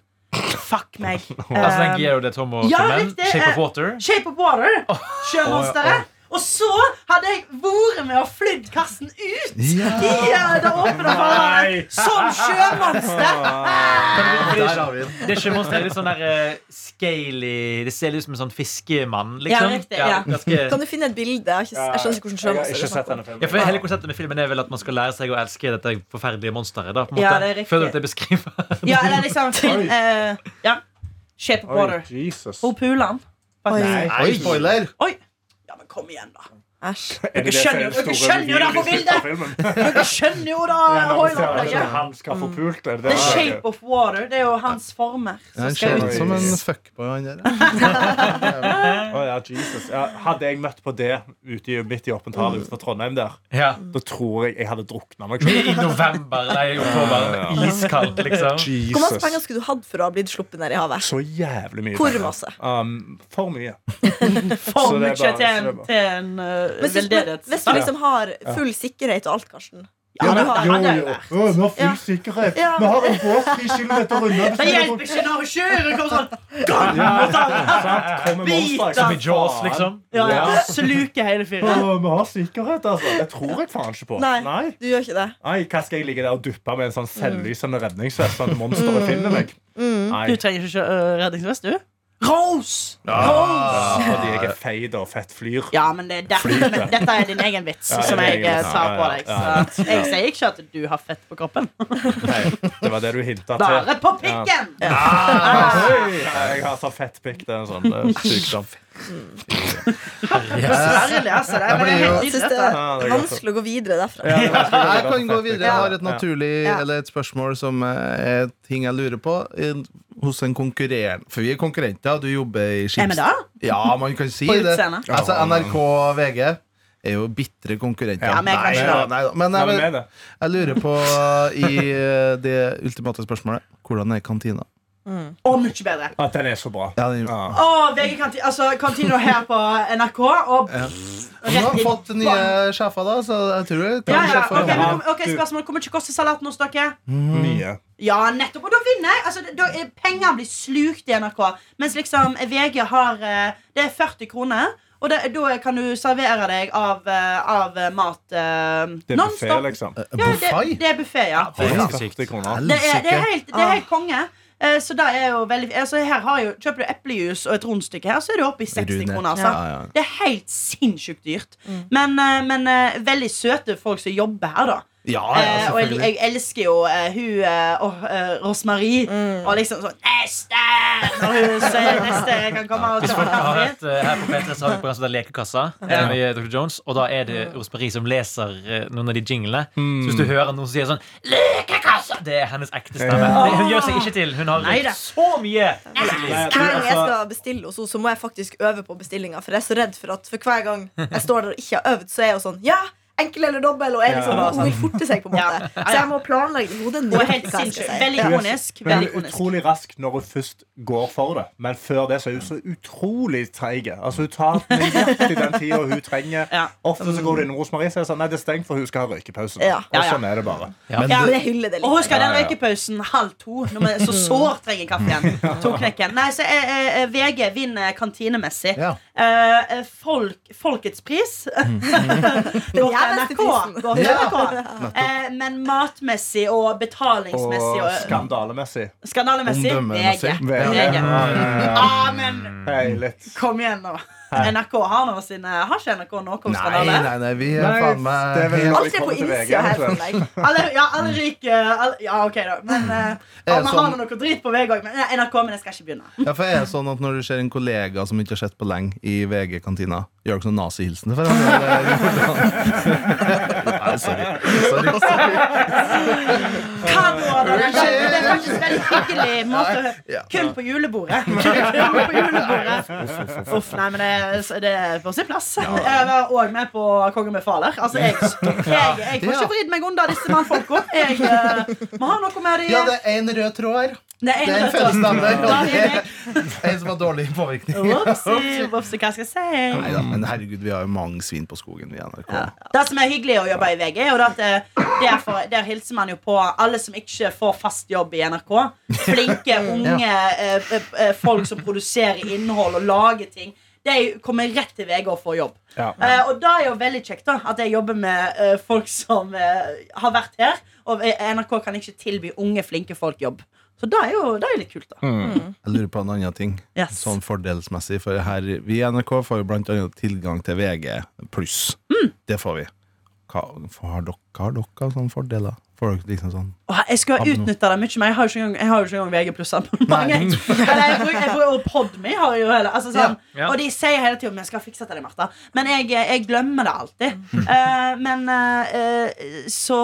F: Fuck meg.
E: Altså
F: Eh,
E: den Gero de Tomo
F: ja,
E: filmen,
F: riktig,
E: Shape
F: eh,
E: of Water.
F: Shape of Water. Sjømonsteret. Og så hadde jeg vært med og flydd Karsten ut i eh, det åpne
B: Nei.
F: farvannet som sjømonster.
D: Der har vi den.
E: Det er ikke monster, det er litt sånn der eh, scaly Det ser litt ut som en sånn fiskemann,
F: Ja,
E: liksom.
F: riktig, ja.
E: ganske-
C: Kan du finne et bilde? Jeg, har ikke, jeg skjønner ikke hvordan
B: Ah, Jeg har ikke
C: sjømonster det er
B: sett
C: snakk om.
B: denne filmen.
E: Ja, for Hele konseptet med filmen er vel at man skal lære seg å elske dette forferdelige monsteret. da, på en måte.
F: Ja, det er riktig.
E: Føler du at det beskriver
F: Ja, eller liksom
B: Oi.
F: fin, eh, ja. Shape of Water.
B: Oi, Jesus.
F: Hun puler han. faktisk.
C: Oi.
D: Oi, spoiler!
F: Oi. Ja, men kom igjen, da.
C: Æsj.
B: Er det det som er den
F: Dere skjønner- dere
B: store
F: skjønner jo det på
B: revealen i slutten av filmen?
F: Dere skjønner jo da
B: Ja, men altså,
F: Hoyland,
B: ser han
F: dere.
B: ikke at Han skal få pult. Er det
F: The
B: det som er
F: Shape of Water. Det er jo hans former. som
D: Han
F: skal
D: ser
F: ut.
D: ut som en fuckboy, han der.
B: Å ja, Jesus. Ja, hadde jeg møtt på det ute i, midt i åpent hav utenfor Trondheim der,
E: Ja.
B: da tror jeg jeg hadde drukna meg
E: Vi
B: selv.
E: er i november, nei, i oktober. Iskaldt, liksom.
C: Hvor masse penger skulle du hatt for å ha blitt sluppet ned i havet?
B: Så jævlig mye.
C: Hvor
B: penger.
C: masse?
B: Um, for mye.
F: For
B: Så det er
F: mye
B: bare-
F: til
B: så det er
F: en,
B: bare-
F: til en
C: Men,
F: eh,
C: synes- men, hvis du
F: veldedighetssak.
C: liksom har full sikkerhet og alt, Karsten,
F: Ja, det har han jo.
B: Å, vi har full sikkerhet.
F: Ja.
B: Vi har en båt tre kilometer unna.
F: Det hjelper ikke når kjøret kommer sånn gang mot alle. Biter.
E: Som i Jaws, liksom.
F: Ja, ja. Sluker hele fyren.
B: Å, vi har sikkerhet, altså. Det tror jeg faen ikke på.
C: Nei,
B: Nei.
C: du gjør ikke det.
B: Nei, hva skal jeg ligge der og duppe med en
F: Mm.
B: sånn selvlysende redningsvest? Sånn at monsteret finner meg? Nei,
F: Du trenger ikke kjø- øh, redningsvest, du. Rose!
B: ja, fordi jeg er feit og fett flyr.
F: Ja, men det, det, men dette er din egen vits
B: Ja,
F: som
B: det er
F: jeg
B: egen
F: eh,
B: vits.
F: tar på
B: Ja, ja,
F: deg. Så jeg sier ikke at du har fett på kroppen.
B: Nei, det var det du hinta til.
F: Bare på pikken! Ah,
B: Hei, Jeg har så fett pikk. Det er en sånn det er sykdom.
F: Forferdelig, altså. Det er
D: blir
F: bare
D: jo-
F: helt
C: Jeg synes
F: nydelig.
C: det er
B: Ja, det er godt.
C: vanskelig å gå videre derfra.
B: Ja, det var slik
D: Jeg
B: det var
D: kan gå
B: perfekt.
D: videre. Jeg har et
B: Ja.
D: naturlig
C: Ja.
D: Eller et spørsmål som eh, er ting jeg lurer på i- hos en konkurrent. For vi er konkurrenter, og du jobber i
F: Er vi
D: Skipsted.
F: da?
D: Ja, man kan si
F: På
D: det.
F: utseende.
D: Altså, NRK og VG er jo bitre konkurrenter.
B: Ja,
F: men jeg
D: Nei,
F: kan ikke
D: da,
F: da.
D: nei da. Men
B: Nei,
D: jeg,
B: men med det.
D: jeg lurer på i eh, det ultimate spørsmålet hvordan er kantina?
F: Å, mye bedre.
B: At den er så bra.
D: Ja, den-
B: Ja.
F: Å, VG kanti, altså, kantina her på NRK. Og
D: Ja.
F: rett
D: Vi har
F: i-
D: fått nye sjefer, da, så jeg tror det
F: ja, ja.
D: sjefer-
F: ok, men, kom- ok, spørsmål. Hvor mye koster salaten hos dere?
B: Nye.
F: Ja, nettopp. Og da vinner jeg. Altså, da er penger blir slukt i NRK. Mens liksom VG har eh, Det er 40 kroner. Og det, da kan du servere deg av, eh, av eh, mat eh,
B: Det er buffé,
F: nonstop.
B: liksom.
F: Ja,
D: Buffet?
F: det, det er buffé, ja.
E: Det er ganske sykt.
B: 40 kroner.
F: Det er, det er helt, det er
C: Ah.
F: helt konge. Eh, Så da er jo veldig altså her har jeg jo, Kjøper du eplejus og et rundstykke her, så er du oppe i 60
D: Rune.
F: kroner. Altså.
D: Ja, ja.
F: Det er helt sinnssykt dyrt. Men, eh, men eh, veldig søte folk som jobber her, da.
D: Ja,
F: Eh,
D: ja,
F: og jeg,
D: selvfølgelig.
F: jeg elsker jo eh, hun eh, og eh, Rosmarie. Og liksom sånn Neste! Når hun sier neste kan komme og
E: Hvis folk
F: ta
E: har
F: den.
E: hørt eh, her på P3 så har vi på gang som heter Lekekassa eh, med Dr. Jones, og da er det Rosemarie som leser eh, noen av de jinglene. Så hvis du hører noen som sier sånn Lekekassa! Det er hennes ekte stemme.
B: Ja.
E: Det- Hun gjør seg ikke til. Hun har
F: Neida.
E: røkt så mye. Eh,
B: Nei, jeg tror,
C: Hver gang jeg
B: altså,
C: skal bestille hos henne, så må jeg faktisk øve på bestillinga. For jeg er så redd for at for hver gang jeg står der og ikke har øvd, så er jeg jo sånn Ja! Enkel eller dobbel, og jeg liksom,
B: Ja.
C: hun vil forte seg, på en måte. Så jeg må planlegge i hodet nå.
F: Hun er helt
C: hva jeg skal
F: sinnssyk.
C: si.
F: Veldig
C: Ja.
B: hun er-
F: ikonisk.
B: men hun
F: Veldig
B: er
F: ikonisk.
B: utrolig rask når hun først går for det. Men før det så er hun så utrolig treig. Altså, hun tar nøyaktig den tida hun trenger.
F: Ja.
B: Ofte så går det inn Rosemarie og sier sånn, nei, det er stengt, for hun skal ha røykepause.
C: Ja.
B: Og sånn er det bare.
C: Ja, men jeg hyller det
F: Og
C: litt.
F: husk at den
B: Ja, ja.
F: røykepausen halv to. Når man så sårt trenger kaffen. To knekken. Nei, så eh, eh, VG vinner kantinemessig.
D: Ja.
F: Eh, eh, folk, folkets pris
B: Mm.
F: går til
C: jævligste
F: NRK. Går til
D: Ja.
F: NRK. Eh, men matmessig og
B: Og
F: betalingsmessig og
B: skandalemessig.
F: skandalemessig VG.
D: Omdømmemessig.
F: VG. Ah, men
B: Hei, litt.
F: kom igjen, nå. NRK har nå sine Har ikke NRK noe om
D: Nei,
F: skandale?
D: nei, nei, vi er
B: Nei,
D: faen meg
B: det er vel-
D: helt-
C: Alt er på innsida her for meg.
F: Alle, ja, alle ryker alle, Ja, OK, da. Men eh,
D: Er
F: alle
D: det
F: har
D: sånn-
F: noe drit på VG òg. Men eh, NRK, men jeg skal ikke begynne.
D: Ja, for er det sånn at Når du ser en kollega som ikke har sett på lenge i VG-kantina, gjør du ikke sånn nazihilsen? for han, eller hvordan? Nei, sorry. sorry, sorry.
F: Hva da? Det er det er faktisk en veldig hyggelig måte å
D: Ja.
F: Kull på julebordet. Kull på julebordet. Uff, nei, men det, det er på sin plass. Jeg var òg med på Kongen befaler. Altså, jeg, jeg, jeg får
D: Ja.
F: ikke vridd meg unna disse mannfolka. Jeg eh, må ha noe med
D: Ja,
F: dem.
D: det er en rød tråd her.
F: Det
D: Det er en
F: er en
D: fellesnevner.
F: Da
D: Og
F: er
D: det
F: jeg
D: er en som har dårlig påvirkning.
F: Vopsi, vopsi, hva skal jeg si?
D: Nei da, men herregud, vi har jo mange svin på skogen, vi i NRK.
F: Det som er hyggelig å jobbe i VG, er jo det at eh, derfor, der hilser man jo på alle som ikke får fast jobb i NRK. Flinke, unge eh, eh, eh, folk som produserer innhold og lager ting. De kommer rett til VG og får jobb.
B: Ja.
F: Eh, og da er jo veldig kjekt da at jeg jobber med eh, folk som eh, har vært her. Og eh, NRK kan ikke tilby unge, flinke folk jobb. Så det er jo det er jo litt kult, da.
D: Jeg lurer på en annen ting.
F: Yes.
D: Mm. Sånn fordelsmessig. For her, vi i NRK får jo blant annet tilgang til VG pluss. Det får vi. Hva hva har dere, hva har dere av sånne fordeler? Får dere liksom sånn
F: Åh, jeg skal
D: Abonnement.
F: utnytte det mye, men jeg har jo ikke engang, jeg har jo ikke engang VG abonnement. Eller jeg bruker, jeg bruker og Podme har jo hele altså sånn,
E: Ja.
F: Og de sier hele tiden Men jeg skal fikse til deg, Martha. Men jeg, eh, jeg glemmer det alltid. Eh, men eh, eh, så,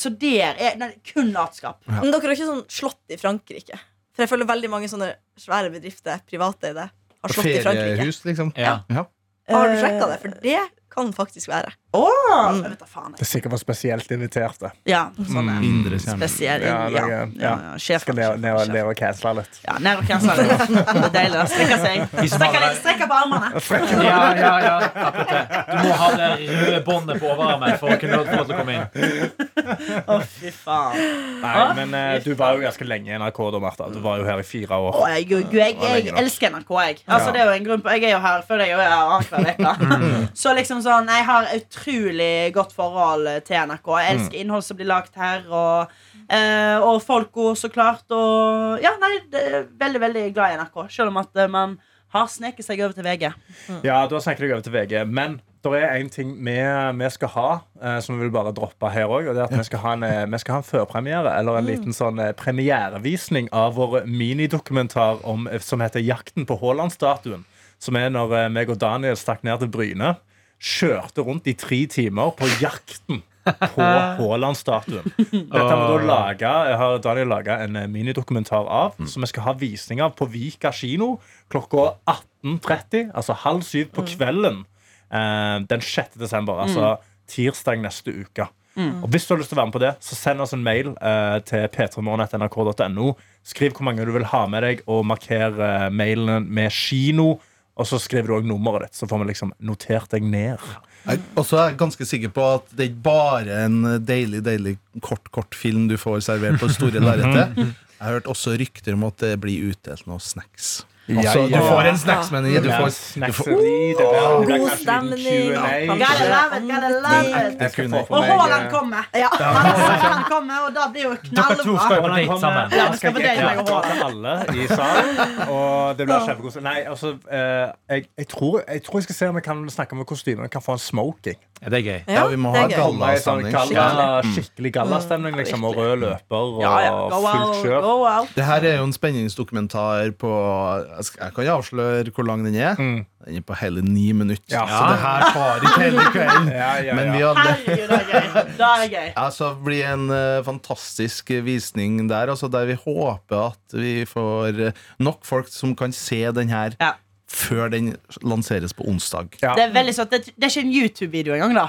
F: så der er nei, kun latskap.
C: Men dere har ikke sånn slått i Frankrike? For jeg føler veldig mange sånne svære bedrifter, private i det, har slått i Frankrike.
D: feriehus, liksom?
E: Ja.
D: Ja.
C: Har du sjekka det? For det kan faktisk være.
F: Åh, Ah, jeg vet da faen.
B: Det er sikkert for spesielt inviterte.
F: jeg. Ja, sånn eh,
D: Indre kjerne.
F: spesiell
B: Ja,
F: ja, ja,
B: noe-
F: ja,
B: ja.
F: Sjef.
B: Skal ned, ned,
F: sjef.
B: ned og cancele litt.
F: Ja, ned og cancel det. Det er deilig. Strekke seg. Strekke, deg- strekke på armene.
E: Ja, ja, ja. Akkurat det. Du må ha det røde båndet på overarmen for å kunne få lov til å komme inn.
F: Å, fy faen.
B: Nei, men eh, du var jo ganske lenge i NRK, da, Martha. Du var jo her i fire år.
F: Å, jeg, Gud, jeg, jeg,
B: lenge nok.
F: elsker NRK, jeg. Altså,
B: Ja. Mm.
F: det er jo en grunn på, jeg er jo her før jeg er her annenhver uke. Så liksom sånn, jeg har utrolig godt forhold til NRK. Jeg
B: Mm.
F: elsker innhold som blir lagt her, og, eh, og folka, så klart. Og ja, nei, det er veldig, veldig glad i NRK. Selv om at eh, man har sneket seg over til VG.
B: Ja, du har snakket deg over til VG. Men det er en ting vi, vi skal ha, eh, som vi vil bare droppe her òg. Og det er at vi skal ha en, eh, vi skal ha en førpremiere, eller en liten sånn eh, premierevisning av vår minidokumentar om, eh, som heter 'Jakten på Haaland-statuen'. Som er når eh, meg og Daniel stakk ned til Bryne. Kjørte rundt i tre timer på jakten på Haaland-statuen. Dette har vi da laget, har Daniel laga en eh, minidokumentar av,
D: Mm.
B: som vi skal ha visning av på Vika kino klokka 18.30, altså halv syv
A: Mm.
B: på kvelden eh, den 6. desember, altså tirsdag neste uke.
A: Mm.
B: Og Hvis du har lyst til å være med på det, så send oss en mail eh, til p3morgen.nrk.no. Skriv hvor mange du vil ha med deg, og marker eh, mailen med kino. Og så skriver du òg nummeret ditt, så får vi liksom notert deg ned.
D: Jeg, og så er jeg ganske sikker på at det er ikke bare en deilig deilig kort kort film du får servert på det store lerretet. Jeg har hørt også rykter om at det blir utdelt noe snacks. Altså, du får en snacks, men du får, du får
A: God stemning.
F: Gotta love it, gotta love it.
B: Jeg skal få på
F: Og
B: meg, eh,
F: Haaland kommer. Ja. Han kommer, og da blir jo
E: Dere to skal
F: knallbra.
E: jo på date sammen.
F: eh, Ja,
B: Jeg skal
F: vi skal på
B: ikke
F: date, jeg og
B: klare til alle i salen. Og det blir kjempekoselig. Nei, altså, eh, jeg, jeg, tror, jeg tror jeg skal se om jeg kan snakke om kostymer. Jeg kan få en smoking.
E: Ja, det er gøy.
D: Ja, vi må ha
A: det er gøy.
B: Komme i sånn
D: gallastemning.
B: galla, skikkelig gallastemning, liksom. Og rød løper og
F: Ja, ja. Go
B: fullt
F: out,
B: kjør.
F: go out.
D: Det her er jo en spenningsdokumentar på Jeg, skal, jeg kan jo avsløre hvor lang den er. Den er på hele ni minutter.
B: Mm. Ja.
D: Så det her tar ikke hele kvelden.
B: Ja, ja,
D: Men vi
B: ja.
D: hadde
F: Herregud, det er gøy. Det er gøy.
D: Ja, så det blir en eh, fantastisk visning der, altså der vi håper at vi får eh, nok folk som kan se den her
F: Ja.
D: før den lanseres på onsdag.
B: Ja.
F: Det er veldig søtt. Det, det er ikke en YouTube-video engang, da.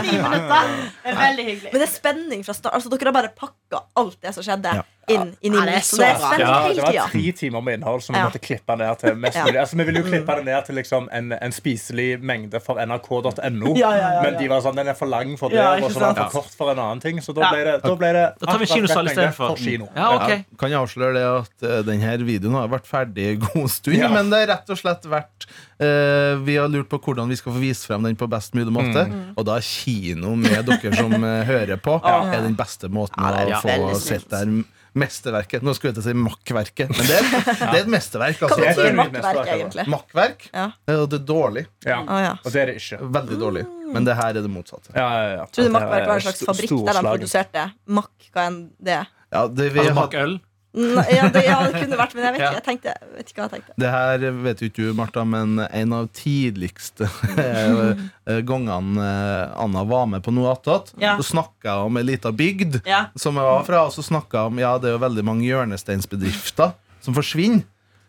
F: Ni minutter. Det er veldig hyggelig.
C: Men det er spenning fra start. Altså, dere har bare pakka alt det som skjedde,
D: Ja.
C: inn i ni
F: Ja, det er
C: minutter.
F: så
C: Så det er
F: bra.
C: spenning
B: Ja, det
C: hele
B: var
C: tida.
B: tre timer med innhold som vi
C: Ja.
B: måtte klippe ned til mest
C: Ja.
B: mulig. Altså, vi ville jo klippe det ned til liksom en, en spiselig mengde for nrk.no,
F: Ja, ja, ja,
B: men
F: ja.
B: de var sånn, den er for lang for det,
F: Ja, ikke
B: og så var den
F: sant?
B: for kort for en annen ting. Så da
F: Ja.
B: ble det, da ble det
E: Da tar vi
B: akkurat
E: kinosal
B: rett mengde
E: istedenfor.
B: for kino.
E: Ja, ok.
D: Jeg kan avsløre det at eh, den her videoen har vært ferdig en god stund,
B: Ja.
D: men det har rett og slett vært eh, Vi har lurt på hvordan vi skal få vist frem den på best mulig måte, og da er kino med dere som eh, hører på, er den beste måten
F: det er
D: å
F: veldig
D: få
F: snilt.
D: sett der mesterverket. Nå skulle jeg til å si makkverket, men det er, det er et mesterverk.
C: Hva
D: Altså.
B: det
C: betyr
B: er mitt neste
C: makkverk,
B: spørsmål.
C: egentlig?
D: Makkverk.
C: Ja.
D: Eh, Og det er dårlig.
B: Ja.
C: Å, ja.
B: Og det er det ikke.
D: Veldig dårlig. Men det her er det motsatte.
B: Ja, ja, ja.
C: Tror du
B: At det
C: makkverk var en
B: er
C: slags
B: sto-
C: fabrikk der de
B: storslagen.
C: produserte makk? Hva enn det er?
D: Ja, det, vi
E: Altså
D: har-
E: bak øl.
C: Nei, ja, det, ja, det kunne vært, men jeg vet
E: Ja.
C: ikke, jeg tenkte, jeg vet ikke hva jeg tenkte.
D: det her vet jo ikke du, Martha, men en av tidligste eh, gangene eh, Anna var med på noe attåt,
F: Ja.
D: så snakka jeg om ei lita bygd
F: Ja.
D: som jeg var fra, og så snakka jeg om ja, det er jo veldig mange hjørnesteinsbedrifter som forsvinner.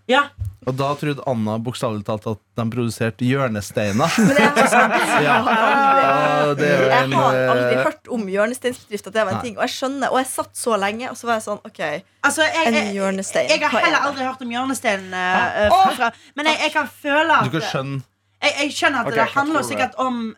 F: ja.
D: Og da trodde Anna bokstavelig talt at de produserte hjørnesteiner.
C: Men jeg har,
D: Ja. Ja, det er jo
C: jeg
D: en,
C: har aldri
D: eh,
C: hørt om hjørnesteinsbedrift, at det var en ting. Og jeg skjønner, og jeg satt så lenge, og så var jeg sånn, ok,
F: Altså, jeg,
C: En
F: jeg, jeg,
C: hjørnestein.
F: har
C: Hva er
F: heller
C: det?
F: aldri hørt om hjørnesteinen. eh, eh, fra- men jeg, jeg kan føle
D: Du
F: at
D: kan skjønne
F: Jeg, jeg skjønner at
B: Ok,
F: det
B: hva
F: handler
B: tror du?
F: sikkert om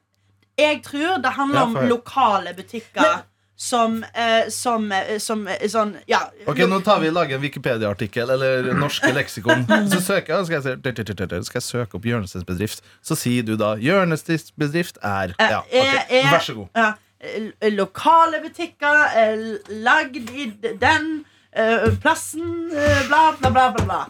F: Jeg tror det handler
D: Ja,
F: om
D: for-
F: lokale butikker som, eh, som, eh, som eh, sånn Ja.
D: Ok, nå tar vi og lager en Wikipedia-artikkel Eller norske leksikon Så søker jeg, skal jeg, se- tut, tut, tut, tut, skal jeg søke opp hjørnesteinsbedrift Så sier du da Hjørnesteinsbedrift er
F: Eh,
D: ja,
F: er-
D: ok,
F: er-
D: Vær så god
F: Ja, eh, lokale butikker eh, lagd i d- den eh, plassen, eh, bla, bla, bla, bla. bla.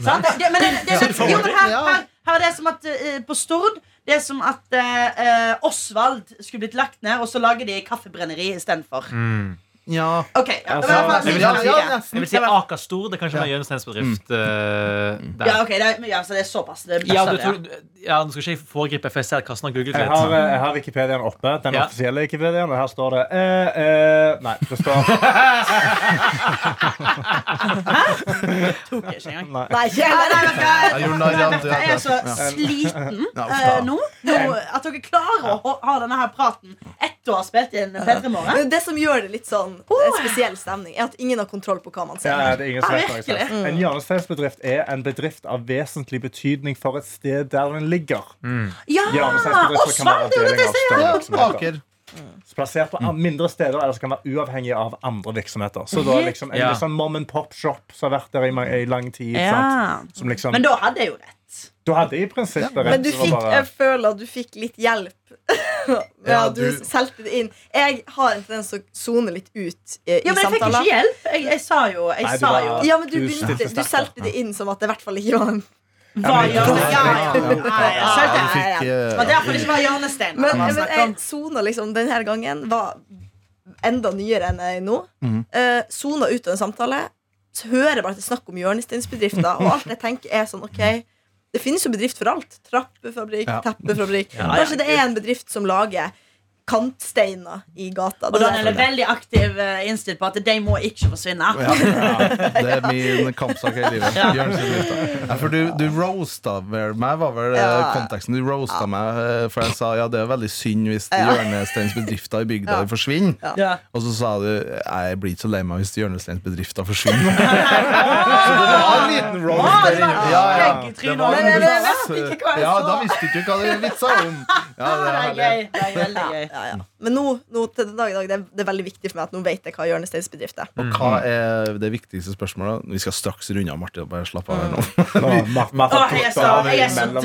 F: Sant? Det, men det, det,
D: Ser du for
F: jo,
D: deg?
F: men her,
D: Ja.
F: her, her er det som at eh, på Stord det er som at eh, eh, Osvald skulle blitt lagt ned, og så lager de kaffebrenneri istedenfor.
D: Mm. Ja,
F: Ok,
B: Altså,
F: ja, det var i hvert fall
D: jeg
F: min
D: vil ha- ja,
F: tanke.
D: nesten.
E: Jeg vil si Aker Stor. Det kan ikke være hjørnesteinsbedrift. eh, der.
F: ja, ok, det, er- ja, så det er såpass. Det er
E: Ja, du
F: bestemt, ja.
E: tror, ja, nå skal ikke jeg foregripe, for jeg ser at Karsten har googlet
B: Jeg har, eh,
E: litt.
B: jeg har Wikipediaen oppe, den
E: Ja.
B: offisielle Wikipediaen, og her står det eh, eh, Nei, det står
F: Tok jeg ikke engang.
B: nei.
C: nei, ikke
F: Ja,
C: heller.
F: nei, vet du hva?
D: Jeg gjorde narr av det.
F: Jeg er så sliten
D: Ja,
F: eh,
D: faen.
F: nå, nå at dere klarer å ha- ha denne her praten etter å ha spilt inn P3 Morgen.
C: Men Det som gjør det litt sånn eh, spesiell stemning, er at ingen har kontroll på hva man
B: Ja,
C: ser.
B: det er ingen
F: Ja,
B: som vet hva jeg
F: virkelig. Mm.
B: sa. En hjørnesteinsbedrift er en bedrift av vesentlig betydning for et sted der den ligger. Ah,
F: Ja!
B: Hjørnesteinsbedrifter kan være
F: Osvald, det er jo dette
B: avdelinger
F: jeg
B: av
F: sier!
B: større
D: ja
B: virksomheter.
D: Aker
B: Plassert på an- mindre steder eller som kan være uavhengig av andre virksomheter. Så da er liksom En
E: Ja.
B: litt sånn mom and pop-shop som har vært der i, ma- i lang tid.
F: Ja.
B: Sant? Som liksom,
F: Men da hadde jeg jo rett.
B: du hadde i prinsippet rett.
C: Men du
B: det var
C: fikk,
B: bare-
F: eh,
C: jeg føler at du fikk litt hjelp. ja,
D: Ja,
C: du
D: du-
C: solgte det inn. Jeg har en tendens til å sone litt ut eh, i
F: Ja, Men jeg fikk ikke
C: samtaler.
F: hjelp. Jeg, jeg sa jo, jeg
B: Nei, du
F: sa
B: var-
F: jo
C: Ja, men du,
B: Du
C: begynte-
B: stilte
C: du
B: sterkt,
C: solgte det inn som at det i hvert fall ikke var en
F: Hva
B: men-
F: hjørne- ja, ja,
D: Ja,
F: ja, ja, ja.
D: Du
F: Skjønte jeg.
D: fikk,
F: Det
D: eh,
F: var derfor det ikke var hjørnestein.
C: Men,
F: det var
C: men
F: snakk
C: jeg
F: om.
C: sona liksom denne gangen var enda nyere enn jeg er nå. Eh, sona ut av en samtale. Så hører jeg bare at det er snakk om hjørnesteinsbedrifter. Og alt jeg tenker er sånn, ok Det finnes jo bedrift for alt. Trappefabrikk,
D: Ja.
C: teppefabrikk.
E: Ja, ja.
C: Kanskje det er en bedrift som lager kantsteiner i gata.
F: Og
C: Det
F: Daniel
C: er-
F: er veldig aktiv eh, innstilt på at de må ikke forsvinne.
D: Ja, ja. Det er min kampsak i livet. Hjørnesteinsbedrifter. Ja, for du, du roasta vel meg, var vel eh,
C: Ja.
D: konteksten. Du roasta meg, eh, for jeg sa ja, det er veldig synd hvis hjørnesteinsbedrifter i bygda
C: Ja.
D: forsvinner.
C: Ja.
D: Og så sa du jeg blir ikke så lei meg hvis hjørnesteinsbedrifter forsvinner. Så det var en liten roast
F: Ah,
D: der.
F: det
D: Ja,
F: var
D: ja.
F: begge
D: Det
F: tryner.
D: var
C: Men-
D: en
C: men- men jeg
D: vits.
F: vet ikke hva jeg
D: Ja,
F: så.
D: da visste du ikke hva det vitsa om. Ja, det er
F: Ah, det er
D: herlig.
F: gøy. Det er veldig gøy.
C: Ja, ja. Men nå, nå til den dag i dag, det er, det er veldig viktig for meg at nå vet jeg hva hjørnesteinsbedrift er.
D: Og hva er det viktigste spørsmålet? Vi skal straks runde av, Martin. Bare slapp av her nå.
B: Nå, Mar- Martha
F: Åh, jeg
B: tok
F: er så,
B: av
F: jeg er så
B: mellom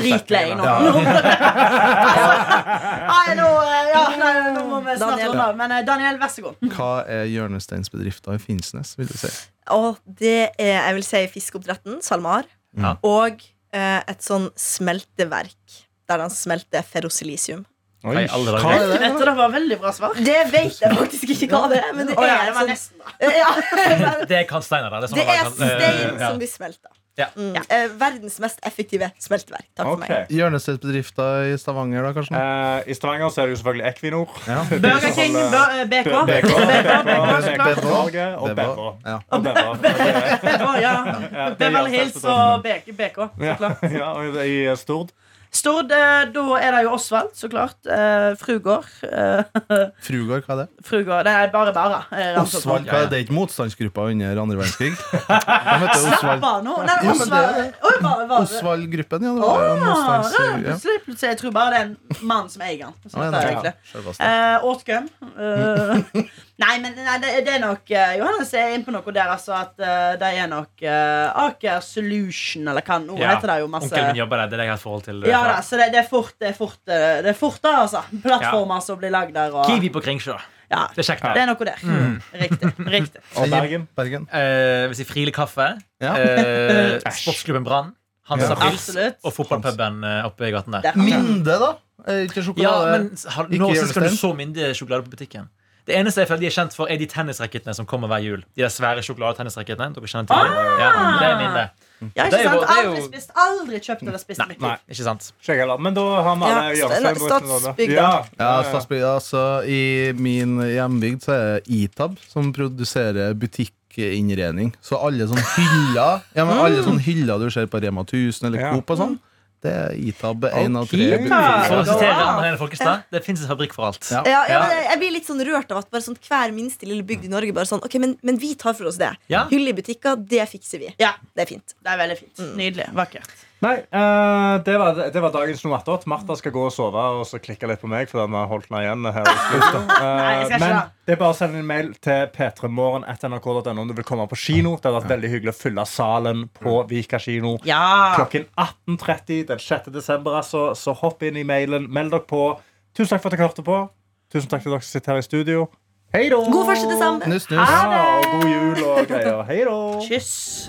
F: dritlei
B: setningene.
F: nå. Altså, Nei, nå, eh, ja, nei, nå må vi snart
C: Daniel.
F: runde av. Men eh, Daniel, vær så god.
D: Hva er hjørnesteinsbedrifter i Finnsnes, vil du si?
C: Og det er, jeg vil si, fiskeoppdretten, SalMar.
E: Ja.
C: Og eh, et sånn smelteverk der han smelter ferrosilisium.
B: Oi,
E: Nei, alle dager.
B: hva er det?
F: Dette da var veldig bra svar.
C: Det vet jeg faktisk ikke hva det er, men det
F: Å, ja,
C: er
F: det var
C: sånn,
F: nesten bra.
C: ja, men
E: Det er kantsteiner, da. Det er, sånn
C: det
E: man
C: er
E: kan-
C: stein
E: eh, ja.
C: som blir smelta.
E: Ja.
C: Mm. Eh, Verdens mest effektive smelteverk. Takk for meg.
B: Ok.
D: Hjørnesteinsbedrifter i Stavanger, da, kanskje?
B: Eh, I Stavanger så er det jo selvfølgelig Equinor.
D: Ja.
B: Det er de som
F: Burger King,
B: holder-
F: bør- eh, BK.
B: BK, BK,
D: BK,
B: Norge og
D: Det
B: Bevra.
D: var- Ja.
B: Og Bevra.
F: Å, ja.
B: Ja, det er altså
F: Beverly Hills og BK. BK så klart.
B: Ja, ja, og I eh, Stord.
F: Stord, eh, da er det jo Osvald, så klart. Eh, Frugård. eh,
D: Frugård, hva er det?
F: Frugård Det er bare bare. eh, ramset opp.
D: Osvald, hva er det? det er ikke motstandsgruppa under andre verdenskrig? De heter
F: Slapp
D: Osvald,
F: av nå. Nei,
D: Ja, men det
F: Osvald.
D: er det.
F: Oi, hva- hva-
D: Osvald-gruppen, ja. Det
F: Å,
D: var jo
F: ja,
D: motstands... Ja.
F: plutselig, plutselig, jeg tror bare det er en mann som eier den. Så
D: Ja,
F: dette er
D: ja,
F: egentlig-
D: ja. Sjølvaste.
F: Eh, Åtgøm. Eh, nei, men nei, det, det er nok eh, Johannes er inne på noe der, altså. At eh, det er nok eh, Aker Solution, eller hva nå
E: Ja.
F: heter det jo masse
E: Onkelen min jobber der. Det er det jeg har et forhold til. eh,
F: ja
E: fra-
F: da, så det, det er fort, det er fort, eh, det er fort da, altså. Plattformer som blir lagd der. Og,
E: Kiwi Mm. på Kringsjå.
F: Ja,
E: Det er kjekt.
F: det er noe der. Riktig. riktig
B: Og Bergen.
D: Bergen.
E: Eh, hvis jeg friler kaffe,
D: Ja.
E: eh, sportsklubben Brann,
D: Ja.
E: Hansa Pils
F: Absolutt.
E: og fotballpuben eh, oppe i gaten der.
F: Der.
D: Minde, da? Er Ikke
E: Ja,
D: sjokolade?
E: men har,
D: Ikke
E: nå
D: gjør det,
E: skal du
D: Sten.
E: så myndige sjokolade på butikken. Det eneste jeg føler de er kjent for, er de tennisrakettene som kommer hver jul. De der svære sjokoladetennisrakettene. Dere kjenner til dem.
F: Ah!
E: Ja, det er mine.
F: Ja,
E: Det er
F: ikke
E: jo-
F: sant?
E: det er jo-
F: Aldri spist, aldri kjøpt eller spist. mitt liv.
B: Nei.
E: Ikke sant?
B: Sjekk heller. Men da har vi alle
C: Ja,
B: Jørgensen-
C: Statsbygda.
B: Ja,
D: Ja,
B: ja, ja.
D: Stadsbygda. Altså, I min hjembygd så er det Itab som produserer butikkinnredning. Så alle sånne hyller Ja, men alle sånne hyller du ser på Rema 1000 eller
B: Ja.
D: Coop og sånn, det er Itab. Én av tre.
B: Ok.
D: butikker.
E: For å sitere
F: Ja.
E: Anne Helene Folkestad, det fins en fabrikk for alt.
D: Ja.
C: Ja, ja,
E: Ja.
C: men jeg- jeg blir litt sånn rørt av at bare sånn hver minste lille bygd i Norge bare sånn, ok, men, men vi tar for oss det.
E: Ja.
C: Hylle i butikker, det fikser vi.
F: Ja,
C: Det er fint.
F: det er veldig fint.
E: Mm.
F: Nydelig. Vakkert.
B: Nei, eh, det, var, det var dagens nummer 88. Martha skal gå og sove og så klikke litt på meg. For den har holdt meg igjen her i slutt, da.
F: Nei, jeg skal
B: Eh,
F: ikke
B: Men
F: det.
B: det er bare å sende en mail til p3morgen.nrk.no om du vil komme på kino. Det hadde vært veldig hyggelig å fylle salen på Vika kino.
F: Ja.
B: Klokken 18.30 den 6. desember. Altså, så hopp inn i mailen. Meld dere på. Tusen takk for at dere hørte på. Tusen takk til dere som sitter her i studio. Hei da!
C: God 1. desember!
D: Nuss, nuss.
B: Ja, og god jul og greier. Hei da!
F: Kyss.